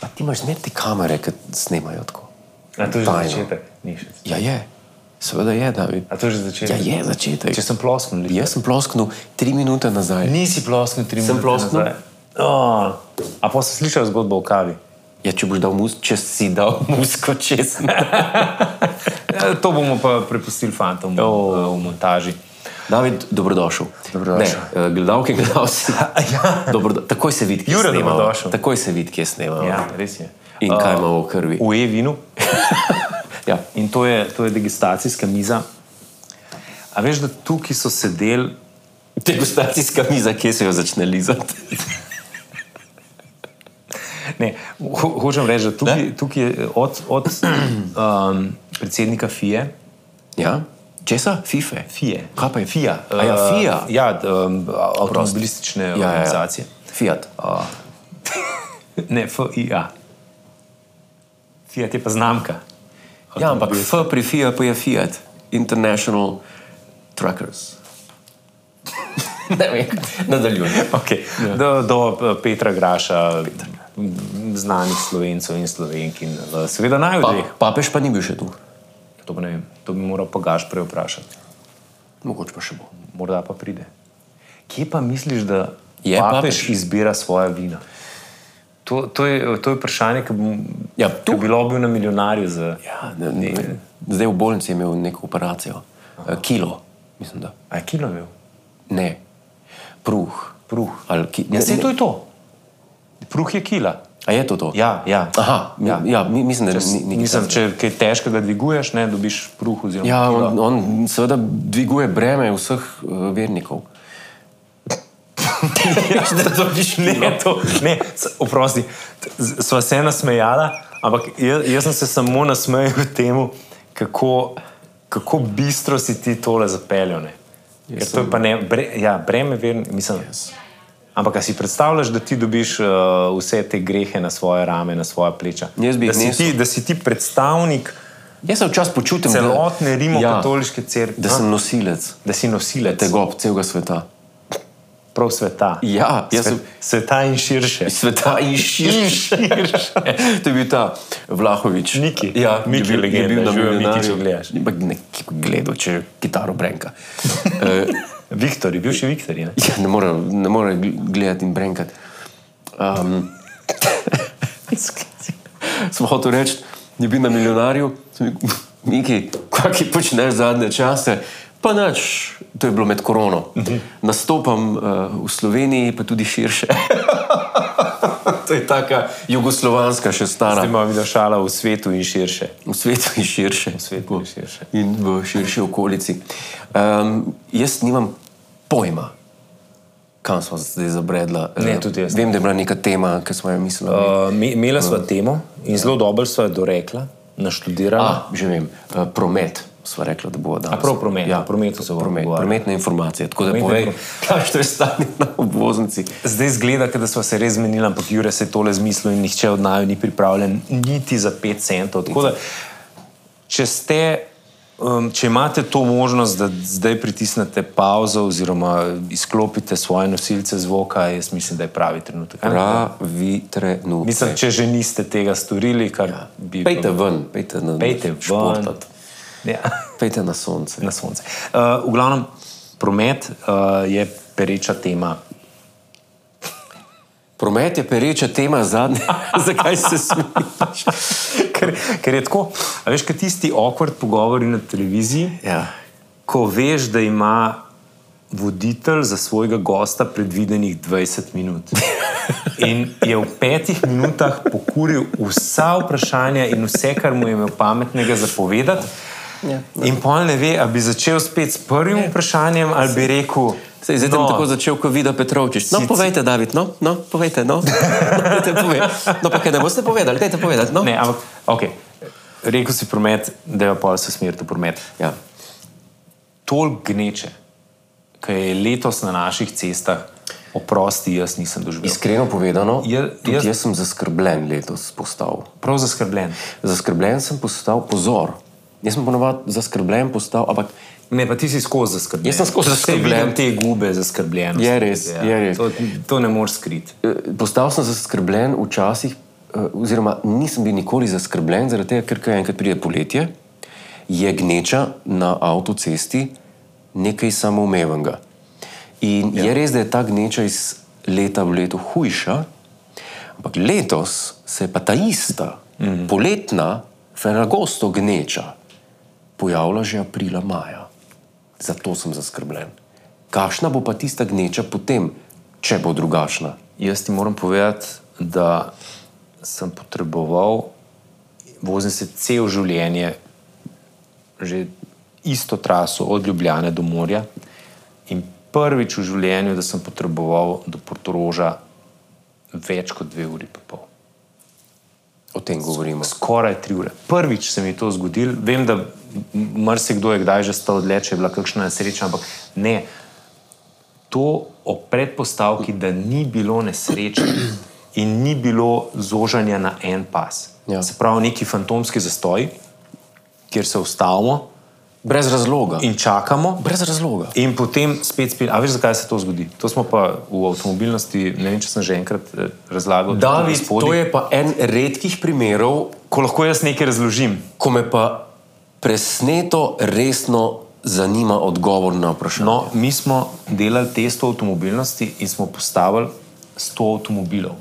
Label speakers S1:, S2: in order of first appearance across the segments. S1: Pa ti imaš zmeraj te kamere, ki snemajo tako.
S2: A to je že
S1: Tajno.
S2: začetek, ni še.
S1: Ja, je. Seveda je, David.
S2: A to je že začetek?
S1: Ja, je začetek.
S2: Če sem plosknil, ali
S1: Jaz sem plosknil tri minute nazaj.
S2: Nisi plosknil tri
S1: Sem
S2: minute.
S1: plosknil?
S2: nazaj. Oh. A pa si slišal zgodbo o kavi?
S1: Ja, če boš dal mus, če si dal musko čez.
S2: Ja, to bomo pa prepustili fantom oh. v montaži.
S1: David, dobrodošel.
S2: Dobrodošel.
S1: Ne, eh, gledalke, gledalci.
S2: Ja.
S1: Dobrodo takoj se vidi, kje
S2: Jure,
S1: snemamo.
S2: dobrodošel.
S1: Takoj se vidi, kje snemamo.
S2: ja, res je.
S1: In kaj imamo v krvi?
S2: V e-vinu.
S1: Ja.
S2: In to je, to je degustacijska miza. A veš, da tukaj so sedeli
S1: Degustacijska miza, kje se jo začne lizati.
S2: Ne, ho hočem reči, da tukaj, tukaj je od, od um, predsednika FIE.
S1: Ja? Česa? Fife.
S2: FIE.
S1: Kaj pa je FIA?
S2: Uh,
S1: A ja, FIA.
S2: Ja, d- um, avtomobilistične
S1: ja.
S2: ja, organizacije.
S1: Fiat.
S2: Ja. Ne, FIA. Fiat je pa znamka.
S1: Ja, ampak F pri FIA pa je Fiat. International Truckers. ne vem, nadaljujem.
S2: Okay. Ja. Do, do eh, Petra Graša, Petr. znanih slovencev in slovenk, in eh, seveda
S1: Pa,
S2: največjih.
S1: papež pa ni bil še tu.
S2: To, pa ne vem, to bi moral pa gaš prej vprašati.
S1: Mogoče pa še bo.
S2: morda pa pride. Kje pa misliš, da
S1: Je
S2: je papež,
S1: papež?
S2: papež izbira svoje vina? To, to, je, to je vprašanje, ki bom,
S1: Ja,
S2: ki
S1: tu.
S2: bi lobil na milijonarju. Za,
S1: Ja, ne, ne, ne. Zdaj v bolnici je imel neko operacijo, Aha. kilo, mislim, da
S2: A je kilo imel?
S1: ne, pruh.
S2: Pruh.
S1: Ali ki, ne,
S2: Ja, se to
S1: ne,
S2: je to. Pruh je kila.
S1: a je to to?
S2: Ja, ja.
S1: Aha, ja. ja mi- mislim, da ni nekaj.
S2: Mislim, če kaj težkega dviguješ, ne dobiš pruh. Oziroma,
S1: Ja,
S2: kila.
S1: on, on seveda dviguje breme vseh uh, vernikov.
S2: ja, da dobiš ne to. Ne, s- oprosti, t- z- sva se nasmejala, ampak jaz, jaz sem se samo nasmejal temu, kako, kako bistro si ti tole zapeljal. ne. Ker to je pa ne, bre, ja, breme, veren, mislim. Yes. Ampak a si predstavljaš, da ti dobiš uh, vse te grehe na svoje rame, na svoje pleča?
S1: Jaz bi
S2: da,
S1: jih
S2: si
S1: nesel.
S2: ti, da si ti predstavnik
S1: Jaz se včasih počutim da-
S2: celotne rimokatoliške ja, cerkve,
S1: da sem nosilec
S2: da si nosilec
S1: tegob celega sveta.
S2: prav sveta.
S1: Ja, jaz sem
S2: Svet, sveta in širše.
S1: sveta in širše. to je bil ta Vlahovič.
S2: Niki.
S1: Ja,
S2: Miki
S1: je bil, je
S2: legenda,
S1: bil na
S2: živijo Miki, če
S1: milijonarju.
S2: gledaš.
S1: Ampak ne ki- gledal, če je kitaro brenka. Eh,
S2: Viktor je bil še Viktor. Je, ne?
S1: ja, ne more, ne more gl- gledati in brenkati. Um, sem hotel reči, je bil na milijonarju, sem rekel, Miki, kaj počneš zadnje čase. Pa nič, to je bilo med korono. Nastopam uh, v Sloveniji, pa tudi širše. to je taka jugoslovanska še stara.
S2: Zdaj imamo šala v svetu in širše.
S1: V svetu in širše. V
S2: svetu in širše.
S1: In v širši okolici. Um, jaz nimam pojma, kam smo se zdaj zabredla.
S2: Ne,
S1: Eh,
S2: tudi jaz ne.
S1: Vem, da je bila neka tema, ki smo jo mislili. Uh,
S2: Uh, mi- imela sva temo in zelo dobro sva jo dorekla, naštudirala.
S1: A, že vem, uh, promet. Sva rekla, da bo danes.
S2: A prav promet,
S1: Ja,
S2: o prometu se bomo
S1: promet,
S2: pogovarjali.
S1: prometne informacije. Tako da
S2: Prometne
S1: povej,
S2: inform-
S1: kakšno je stanje na obvoznici.
S2: Zdaj zgleda, kot da sva se res zmenila, ampak Jure se je tole zmislil in nihče od naju ni pripravljen niti za 5 centov. Tako da, če, ste, um, če imate to možnost, da zdaj pritisnete pauzo oziroma izklopite svoje nosilce zvoka, jaz mislim, da je pravi trenutek. a ne?
S1: Pravi trenutek.
S2: Mislim, če že niste tega storili, kar ja. bi
S1: pejte ven, pejte na
S2: Pejte ven.
S1: športat,
S2: Ja,
S1: pejte na sonce.
S2: na sonce. Uh, v glavnem, promet uh, je pereča tema.
S1: Promet je pereča tema zadnje, zakaj se smejiš.
S2: ker, ker je tako, a veš, kot tisti awkward pogovori na televiziji,
S1: Ja.
S2: ko veš, da ima voditelj za svojega gosta predvidenih 20 minut. In je v petih minutah pokuril vsa vprašanja in vse, kar mu je imel pametnega zapovedati.
S1: Ja.
S2: In pol ne ve, ali bi začel spet s prvim vprašanjem, ali bi rekel:
S1: Sej, zdaj sem no. tako začel, ko vidim Petrovčič. No,
S2: Si-
S1: povejte, David, no, no povejte, no. Dajte povedati. No, pa kaj ne boste povedali, dajte povedati, no.
S2: Ne, ampak, okay. rekel si promet, da je pa vse smer v promet.
S1: Ja.
S2: toliko gneče, ki je letos na naših cestah, oprosti, jaz nisem doživel.
S1: Iskreno povedano,
S2: Ja,
S1: tudi
S2: jaz-
S1: jaz... jaz sem zaskrbljen letos postal.
S2: Prav zaskrbljen.
S1: Zaskrbljen sem postal, pozor, Jaz sem ponovadi zaskrbljen postal, ampak
S2: Ne, pa ti si skozi zaskrbljen.
S1: Jaz sem skozi
S2: Saj
S1: zaskrbljen.
S2: vidim Te gube zaskrbljeno.
S1: Je res, je res.
S2: To, to ne moreš skriti.
S1: eh, postal sem zaskrbljen včasih, eh, oziroma nisem bil nikoli zaskrbljen, zaradi tega, ker ko enkrat pride poletje, je gneča na avtocesti nekaj samoumevnega. In ja. je res, da je ta gneča iz leta v leto hujša, ampak letos se je pa ta ista, mm. poletna, ferragosto gneča pojavlja že aprila, maja. Zato sem zaskrbljen. Kakšna bo pa tista gneča potem, če bo drugačna?
S2: Jaz ti moram povedati, da sem potreboval, vozim se cel življenje, že isto traso od Ljubljana do morja. In prvič v življenju, da sem potreboval do Portoroža več kot dve uri in pol.
S1: O tem govorimo.
S2: Skoraj tri ure. Prvič se mi je to zgodilo. Vem, da marsikdo je kdaj že stal dlje, če je bila kakšna nesreča, ampak ne. To ob predpostavki, da ni bilo nesreče in ni bilo zožanja na en pas.
S1: Ja.
S2: Se pravi, neki fantomski zastoj, kjer se ustavimo
S1: Brez razloga.
S2: in čakamo.
S1: Brez razloga.
S2: In potem spet spil. A veš, zakaj se to zgodi? To smo pa v avtomobilnosti, ne vem, če sem že enkrat eh, razlagal. tudi
S1: David,
S2: gospodi,
S1: to je pa en redkih primerov,
S2: ko lahko jaz nekaj razložim.
S1: ko me pa presneto, resno zanima odgovor na vprašanje.
S2: No, mi smo delali test o avtomobilnosti in smo postavili 100 avtomobilov.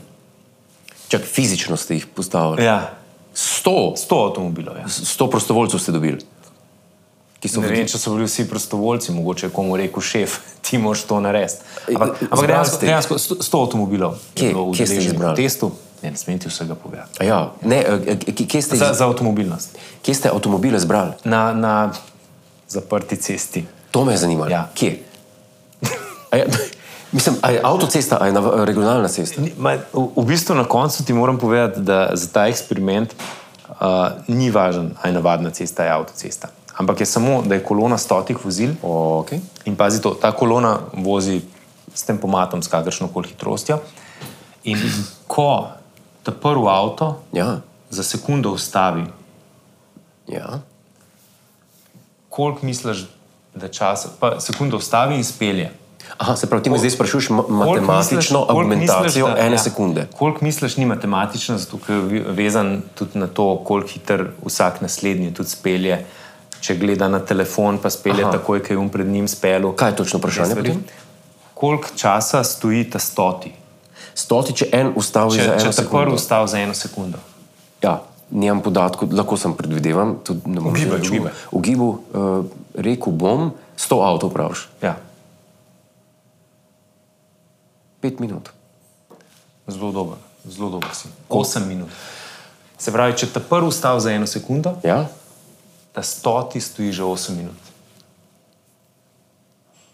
S1: Čak fizično ste jih postavili.
S2: Ja.
S1: Sto,
S2: 100 avtomobilov. Ja.
S1: sto prostovoljcev ste dobili. Ki so
S2: Ne
S1: hodili-
S2: vem, če so bili vsi prostovoljci, mogoče je komu rekel šef, ti moraš to narediti.
S1: Zbrali
S2: Ampak, ampak dejansko,
S1: ste jih?
S2: dejansko 100 100 avtomobilov
S1: E, Kje-
S2: je bilo
S1: kje ste jih
S2: udeleženih
S1: zbrali?
S2: v testu. Ne, ne smem ti vsega povedati.
S1: A Ja, ne, eh, eh, kje ste, jih-
S2: Za, za avtomobilnost.
S1: kje ste avtomobile zbrali?
S2: Na, na zaprti cesti.
S1: To me je zanimalo.
S2: Ja.
S1: Kje? A Je, mislim, a je avtocesta, a je nav- regionalna cesta?
S2: Ni- ma, V v bistvu na koncu ti moram povedati, da za ta eksperiment uh, ni važen, ali je navadna cesta ali avtocesta. Ampak je samo, da je kolona stotih vozil
S1: Okay.
S2: in pazi to, ta kolona vozi s tem pomatom, s kakršno koli hitrostjo. In ko ta prvi avto
S1: Ja,
S2: za sekundo ustavi,
S1: ja.
S2: koliko misliš, da časa, pa sekundo ustavi in spelje.
S1: Aha, se pravi, ti me zdaj sprašuješ ma-
S2: Koliko
S1: matematično
S2: misliš- koliko
S1: argumentacijo
S2: misliš, da-
S1: ene
S2: ja.
S1: sekunde.
S2: Koliko misliš, ni matematično, zato ker je vi- vezan tudi na to, koliko hiter vsak naslednji tudi spelje. Če gleda na telefon, pa spelje
S1: Aha.
S2: Aha. takoj, ki je um pred njim spelo.
S1: Kaj je točno vprašanje? potem?
S2: Koliko časa stoji ta stoti?
S1: Stoti, če en ustavi za
S2: Če,
S1: eno
S2: če te
S1: sekundo.
S2: prvi ustavi za eno sekundo.
S1: Ja, nimam podatkov, lahko sem predvidevam. tudi ne morem
S2: Ugibaj,
S1: reči.
S2: ugibaj.
S1: V gibu uh, rekel bom, 100 avtov praviš,
S2: Ja,
S1: 5 minut.
S2: zelo dober, zelo dober si. 8 minut. Se pravi, če te prvi ustavi za eno sekundo,
S1: Ja?
S2: ta stoti stoji že 8 minut.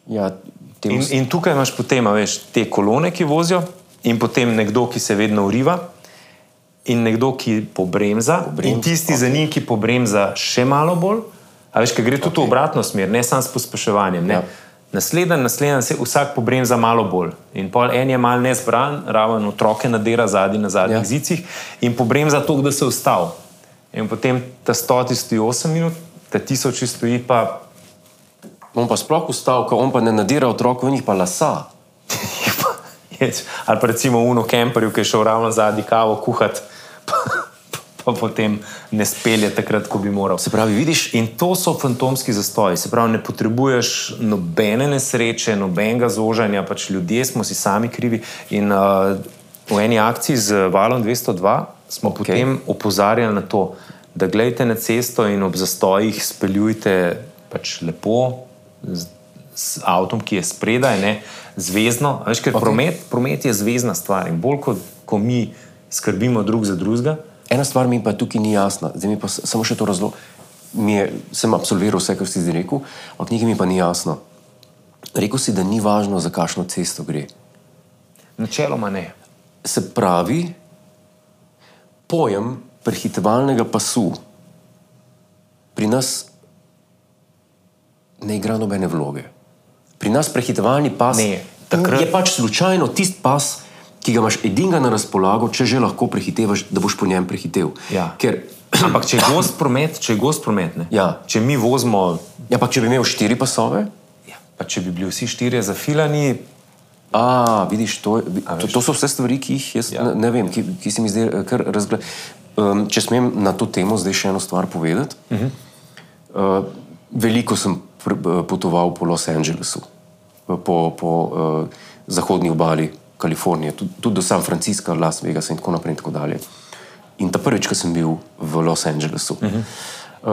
S1: Ja, te
S2: In, in tukaj imaš potem, a veš, te kolone, ki vozijo, in potem nekdo, ki se vedno uriva, in nekdo, ki pobremza,
S1: Pobremza,
S2: in tisti okay. za njim, ki pobremza še malo bolj. A veš, ker gre tudi okay. v obratno smer, ne samo s pospeševanjem.
S1: Ja.
S2: Ja. Naslednji, naslednji, se vsak pobremza malo bolj. In pol en je mal nezbran, raven otroke nadera zadnji na zadnjih
S1: Ja.
S2: ja. zicih in pobremza to, da se ustavi. In potem ta stoti stoji 8 minut, ta tisoči stoji pa
S1: On pa sploh ustal, ko on pa ne nadira otrokov in jih pa lasa.
S2: Ječ, ali pa recimo uno kemperju, ki je šel ravno zadnji kavo kuhati, pa, pa potem ne spelje takrat, ko bi moral.
S1: Se pravi, vidiš,
S2: In to so fantomski zastoji, se pravi, ne potrebuješ nobene nesreče, nobenega zožanja, pač ljudje smo si sami krivi. In uh, v eni akciji z Valom 202 smo okay. potem opozarjali na to, da gledajte na cesto in ob zastojih speljujte pač lepo. Z, Z avtom, ki je spredaj, ne zvezdno. A Veš, ker okay. promet, promet je zvezdna stvar in bolj kot ko mi skrbimo drug za drugega,
S1: ena stvar mi pa tukaj ni jasna, zdaj mi pa s- samo še to razložim. Sem absolviral vse, kar si zdaj rekel, ampak nekaj mi pa ni jasno. Rekl si, da ni važno, za kakšno cesto gre.
S2: načeloma ne.
S1: Se pravi, pojem prehitevalnega pasu pri nas ne igra nobene vloge. Pri nas prehitevalni pas
S2: Ne, takrat-
S1: je pač slučajno tisti pas, ki ga imaš edinega na razpolago, če že lahko prehitevaš, da boš po njem prehitev.
S2: Ja.
S1: Ker
S2: Ampak če je gost promet, če je gost promet, ne?
S1: Ja.
S2: če mi vozimo,
S1: Ja, pa če bi imel štiri pasove,
S2: ja, pa če bi bili vsi štirje zafilani,
S1: a vidiš, to, je- to, to so vse stvari, ki jih jaz
S2: Ja.
S1: ja. ne, ne vem, ki, ki se mi zdaj eh, kar razgled. Um, če smem na to temo zdaj še eno stvar povedati. Uh -huh. uh, veliko sem pr, eh, potoval po Los Angelesu, eh, po, po uh, zahodni obali Kalifornije, tudi, tudi do San Francisca, Las Vegasa in tako naprej. In, tako dalje. in ta prvič, ko sem bil v Los Angelesu. Uh -huh.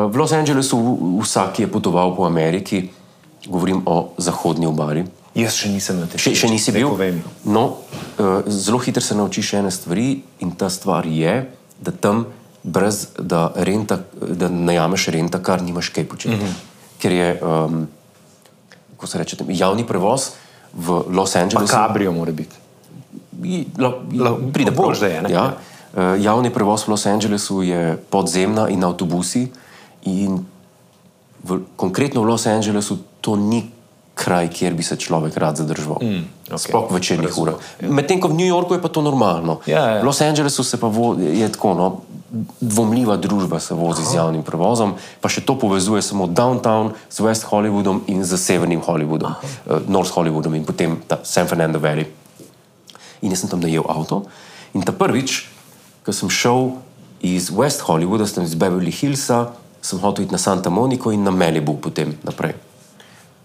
S1: uh, v Los Angelesu v- vsak je potoval po Ameriki, govorim o zahodni obali.
S2: jaz še nisem na tem.
S1: Še, še nisi bil?
S2: Povem.
S1: No, eh, zelo hitro se naučiš ene stvari, in ta stvar je, da tam brez da, renta, da najameš renta, kar nimaš kaj početi.
S2: Mhm.
S1: Mm -hmm. Ker je, um, kako se reče, tem, javni prevoz v Los Angelesu.
S2: Kabrio mora biti.
S1: I- la-
S2: La-
S1: i- Pride prav.
S2: božje je, ne?
S1: Ja. Eh, Javni prevoz v Los Angelesu je podzemna in avtobusi. In v, konkretno v Los Angelesu to ni kraj, kjer bi se človek rad zadržal. Mm,
S2: okej.
S1: Sploh v večernih urah. Medtem ko v New Yorku je pa to normalno.
S2: Ja, ja.
S1: V Los Angelesu se pa vo, je tako, no, dvomljiva družba se vozi Aha. z javnim prevozom, pa še to povezuje samo downtown z West Hollywoodom in z severnim Hollywoodom, uh, North Hollywoodom in potem ta San Fernando Valley. In jaz sem tam najel avto. In ta prvič, ko sem šel iz West Hollywooda, sem iz Beverly Hillsa, sem hotel iti na Santa Monico in na Malibu potem naprej.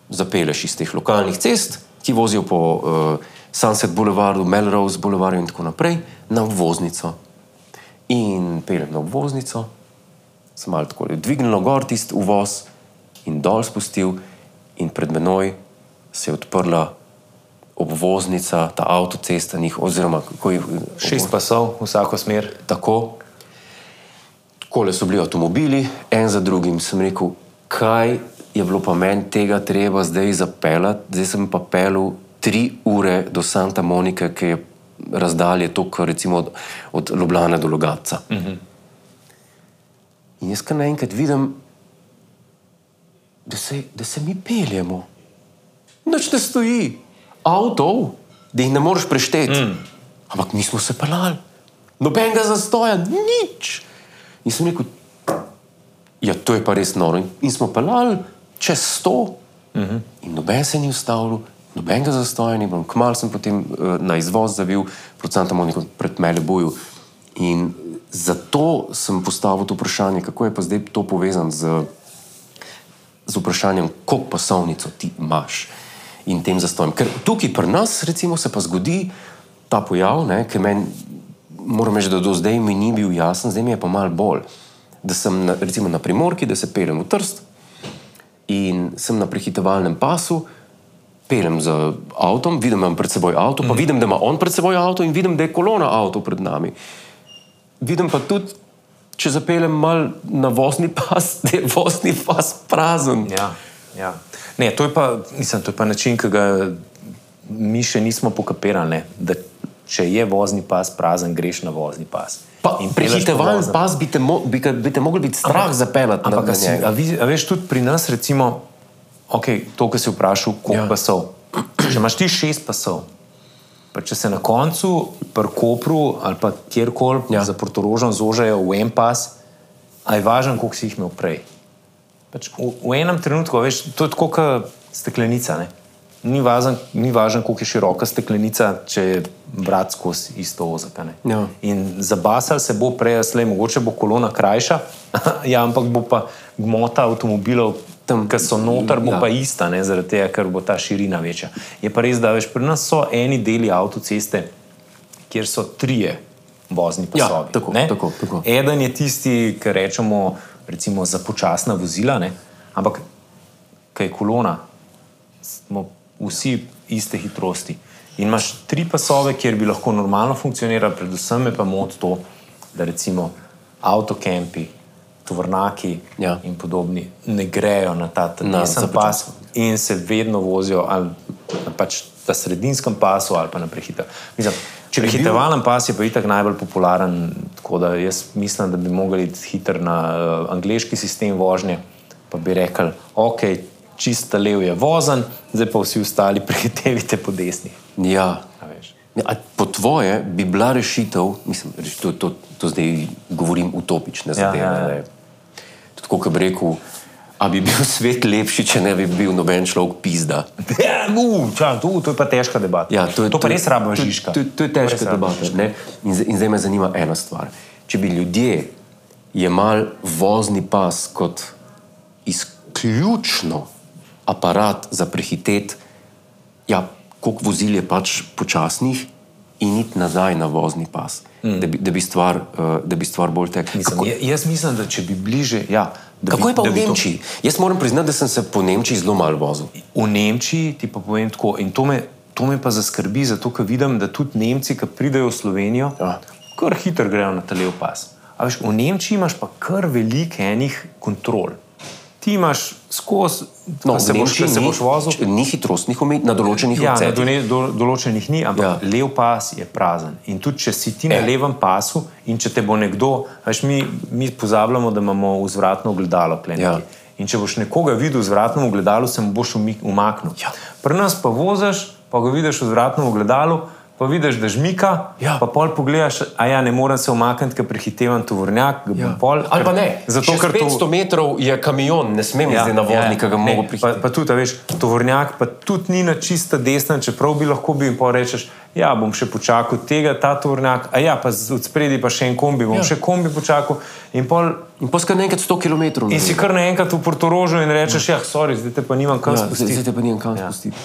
S1: Zapeleš iz teh lokalnih cest, ki vozijo po uh, Sunset Boulevardu, Melrose Boulevardu in tako naprej, na obvoznico. In peljem na obvoznico, sem malo tako dvignil gor tisti uvoz in dol spustil, in pred menoj se je odprla obvoznica, ta avtocesta, njih, oziroma kako jih
S2: Šest pasov, vsako smer.
S1: tako. Takole so bili avtomobili, en za drugim. Sem rekel, kaj je bilo pa meni tega treba zdaj zapeljati. Zdaj sem pa pelil tri ure do Santa Monike, ki je razdalje toliko, recimo od, od Ljubljana do Logatca. Uh -huh. In jaz kar naenkrat vidim, da se, da se mi peljemo. Noč ne stoji, avtov, da jih ne moreš prešteti. Mm. Ampak mi smo se pelali, nobenega zastoja, nič. In sem rekel, ja, to je pa res noro. In, in smo pelali čez sto, mm -hmm. in noben se ni ustavil, nobenega zastoja ni bilo. Kmal sem potem uh, na izvoz zavil, predvsem tam neko pred Melibuju. In zato sem postavil to vprašanje, kako je pa zdaj to povezano z. Uh, z vprašanjem, koliko pasovnico ti imaš in tem zastojem. Ker tukaj pri nas, recimo, se pa zgodi ta pojav, ne, ki meni, moram reči, da do zdaj mi ni bil jasen, zdaj mi je pa mal bolj. Da sem na, recimo na primorki, da se peljem v Trst in sem na prehitevalnem pasu. Pelem z avtom, vidim, da imam pred seboj avto, pa vidim, da ima on pred seboj avto, in vidim, da je kolona avto pred nami. Vidim pa tudi, če zapeljem malo na vozni pas, da je vozni pas prazen.
S2: Ja, ja. Ne, to, je pa, mislim, to je pa način, ki ga mi še nismo pokapirali. ne, Da, če je vozni pas prazen, greš na vozni pas.
S1: Pa,
S2: In peleš po
S1: Prehitevalen
S2: voznem
S1: pas bi te, mo, bi, ga- bi te mogel biti strah zapeljati na,
S2: Ampak,
S1: na
S2: a si,
S1: njega.
S2: a vi, a veš, tudi pri nas, recimo, okay, to, kar si vprašal, koliko ja.
S1: Ja.
S2: pasov. Če imaš ti šest pasov, pa če se na koncu pri Kopru ali pa kjerkoli ja.
S1: Ja.
S2: za portorožen zožajo v en pas, aj važen, koliko si jih imel prej. Pač v, v enem trenutku, a veš, to je tako kot steklenica. Ne? Ni važen, ni važen, koliko je široka steklenica, če je brat skozi isto ozaka. ne.
S1: Ja.
S2: In zabasal se bo prej, slej, mogoče bo kolona krajša, ja, ampak bo pa gmota avtomobilov,
S1: Tam.
S2: ki so noter, bo ja.
S1: Ja.
S2: pa ista, ne, zaradi tega, ker bo ta širina večja. Je pa res, da veš, pri nas so eni deli avtoceste, kjer so trije vozni
S1: Ja,
S2: pasovi.
S1: tako,
S2: ne.
S1: tako, tako.
S2: Eden je tisti, ki rečemo, recimo, za počasna vozila, ne? ampak kaj je kolona, smo vsi iste hitrosti. In imaš tri pasove, kjer bi lahko normalno funkcionirali, predvsem me pa moti to, da recimo avtokempi, tovrnaki
S1: Ja.
S2: in podobni ne grejo na ta
S1: Na
S2: tesen pas
S1: započasno.
S2: in se vedno vozijo ali na pač na sredinskem pasu ali pa na prehitev. Mislim, če
S1: bi bil-
S2: prehitevalen pas je pa itak najbolj popularen, tako da jaz mislim, da bi mogli iti hiter na uh, angliški sistem vožnje, pa bi rekli, ok, čista lev je vozen, zdaj pa vsi ostali prehitevite po desni.
S1: Ja,
S2: A veš.
S1: Ne, a po tvoje bi bila rešitev, mislim, reš- to, to, to zdaj govorim utopične zadeve.
S2: ja, ja.
S1: ne. Tako kot bi rekel, a bi bil svet lepši, če ne bi bil noben človek pizda.
S2: Ja, u, čan, tu, to je pa težka debata.
S1: Ja, to, je,
S2: to pa res rabimo
S1: to-
S2: žiška.
S1: To, to je
S2: res
S1: težka
S2: rabimo
S1: debata. ne. In, z- in zdaj me zanima ena stvar. Če bi ljudje jemali vozni pas kot izključno aparat za prehiteti, ja, koliko vozil je pač počasnih. In iti nazaj na vozni pas, mm. da, bi, da, bi stvar, eh, da bi stvar bolj tekla.
S2: Mislim,
S1: Kako,
S2: ja- jaz mislim, da če bi bliže. Ja, da
S1: kako
S2: bi,
S1: je pa
S2: da
S1: v
S2: bi to-
S1: Nemčiji? Jaz moram priznati, da sem se po Nemčiji zelo malo vozil.
S2: V Nemčiji ti pa povem tako. In to me, to me pa zaskrbi, zato ker vidim, da tudi Nemci, ki pridejo v Slovenijo,
S1: Ja.
S2: kar hitro grejo na talev pas. A veš, v Nemčiji imaš pa kar veliko enih kontrol. Ti imaš skozi,
S1: No,
S2: ko se
S1: v
S2: boš, ko
S1: Nemčiji
S2: se
S1: ni-
S2: boš vozil.
S1: č- Ni hitrostnih omejitev na določenih
S2: Ja, na
S1: odsekih.
S2: done, do, določenih ni, ampak
S1: Ja.
S2: ja. lev pas je prazen. In tudi, če si ti na
S1: Ja.
S2: levem pasu in če te bo nekdo, veš, mi, mi pozabljamo, da imamo vzvratno ogledalo. tule
S1: Ja.
S2: nekje. In če boš nekoga videl v zvratnem ogledalu, se mu boš umik- umaknil.
S1: Ja.
S2: Pri nas pa voziš, pa ga vidiš v zvratnem ogledalu, pa vidiš, da žmika,
S1: Ja.
S2: pa pol pogledaš, a ja, ne morem se umakniti, ker prehitevam tovornjak, ga bom pol.
S1: Ja. Ali pa
S2: ker-
S1: ne.
S2: Zato,
S1: Zato,
S2: ker to-
S1: 500 to... metrov je kamion, ne smem ja, zdaj na voznika, ja, ga
S2: Ne,
S1: mogo prihiteti.
S2: Pa, pa tudi, a veš, tovornjak pa tudi ni na čista desna, čeprav bi lahko bil, pa rečeš, ja, bom še počakal tega, ta tovornjak, a ja, pa z- od spredi pa še en kombi, bom
S1: Ja.
S2: ja. še kombi počakal. In, pol,
S1: In poskaj enkrat 100 km.
S2: in si kar naenkrat v Portorožu in rečeš, ja, sorry, zdaj te pa nimam kam
S1: ja,
S2: ja,
S1: zdaj
S2: spustiti.
S1: zdaj te pa nijem kam ja. spustiti.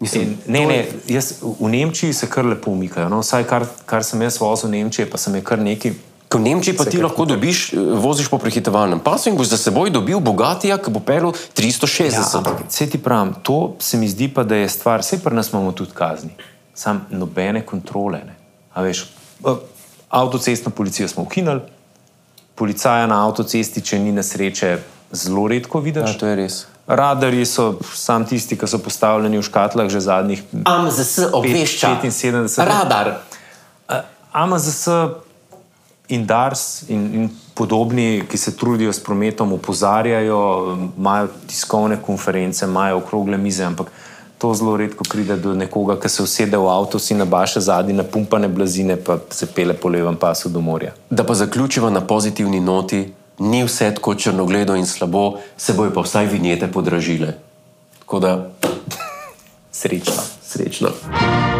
S1: Mislim,
S2: In, ne, ne, jaz, v Nemčiji se kar lepo umikajo. No? Vsaj kar, kar sem jaz vozil v Nemčiji, pa sem je kar nekaj.
S1: ker v Nemčiji pa ti lahko dobiš, eh, voziš po prehitevalnem pasu in boš za seboj dobil bogatija, ki bo pel 360.
S2: Ja,
S1: Ja,
S2: ampak vse ti pravim, to se mi zdi pa, da je stvar, vse pri nas imamo tudi kazni, sam nobene kontrole. Ne. A veš, eh, avtocestno policijo smo ukinili, policaja na avtocesti, če ni nesreče, zelo redko vidiš.
S1: ja, to je res.
S2: Radarji so pf, sam tisti, ki so postavljeni v škatlah že zadnjih.
S1: AMZS
S2: obvešča. 75. Radar. AMZS in DARS in, in podobni, ki se trudijo s prometom, opozarjajo, imajo tiskovne konference, imajo okrogle mize, ampak to zelo redko pride do nekoga, ki se usede v avto, si nabaše zadnji, napumpane blazine, pa se pele po levem pasu do morja.
S1: Da pa zaključiva na pozitivni noti, ni vse tako črnogledo in slabo, se bojo pa vsaj vinjete podražile. Tako da
S2: Srečno.
S1: srečno.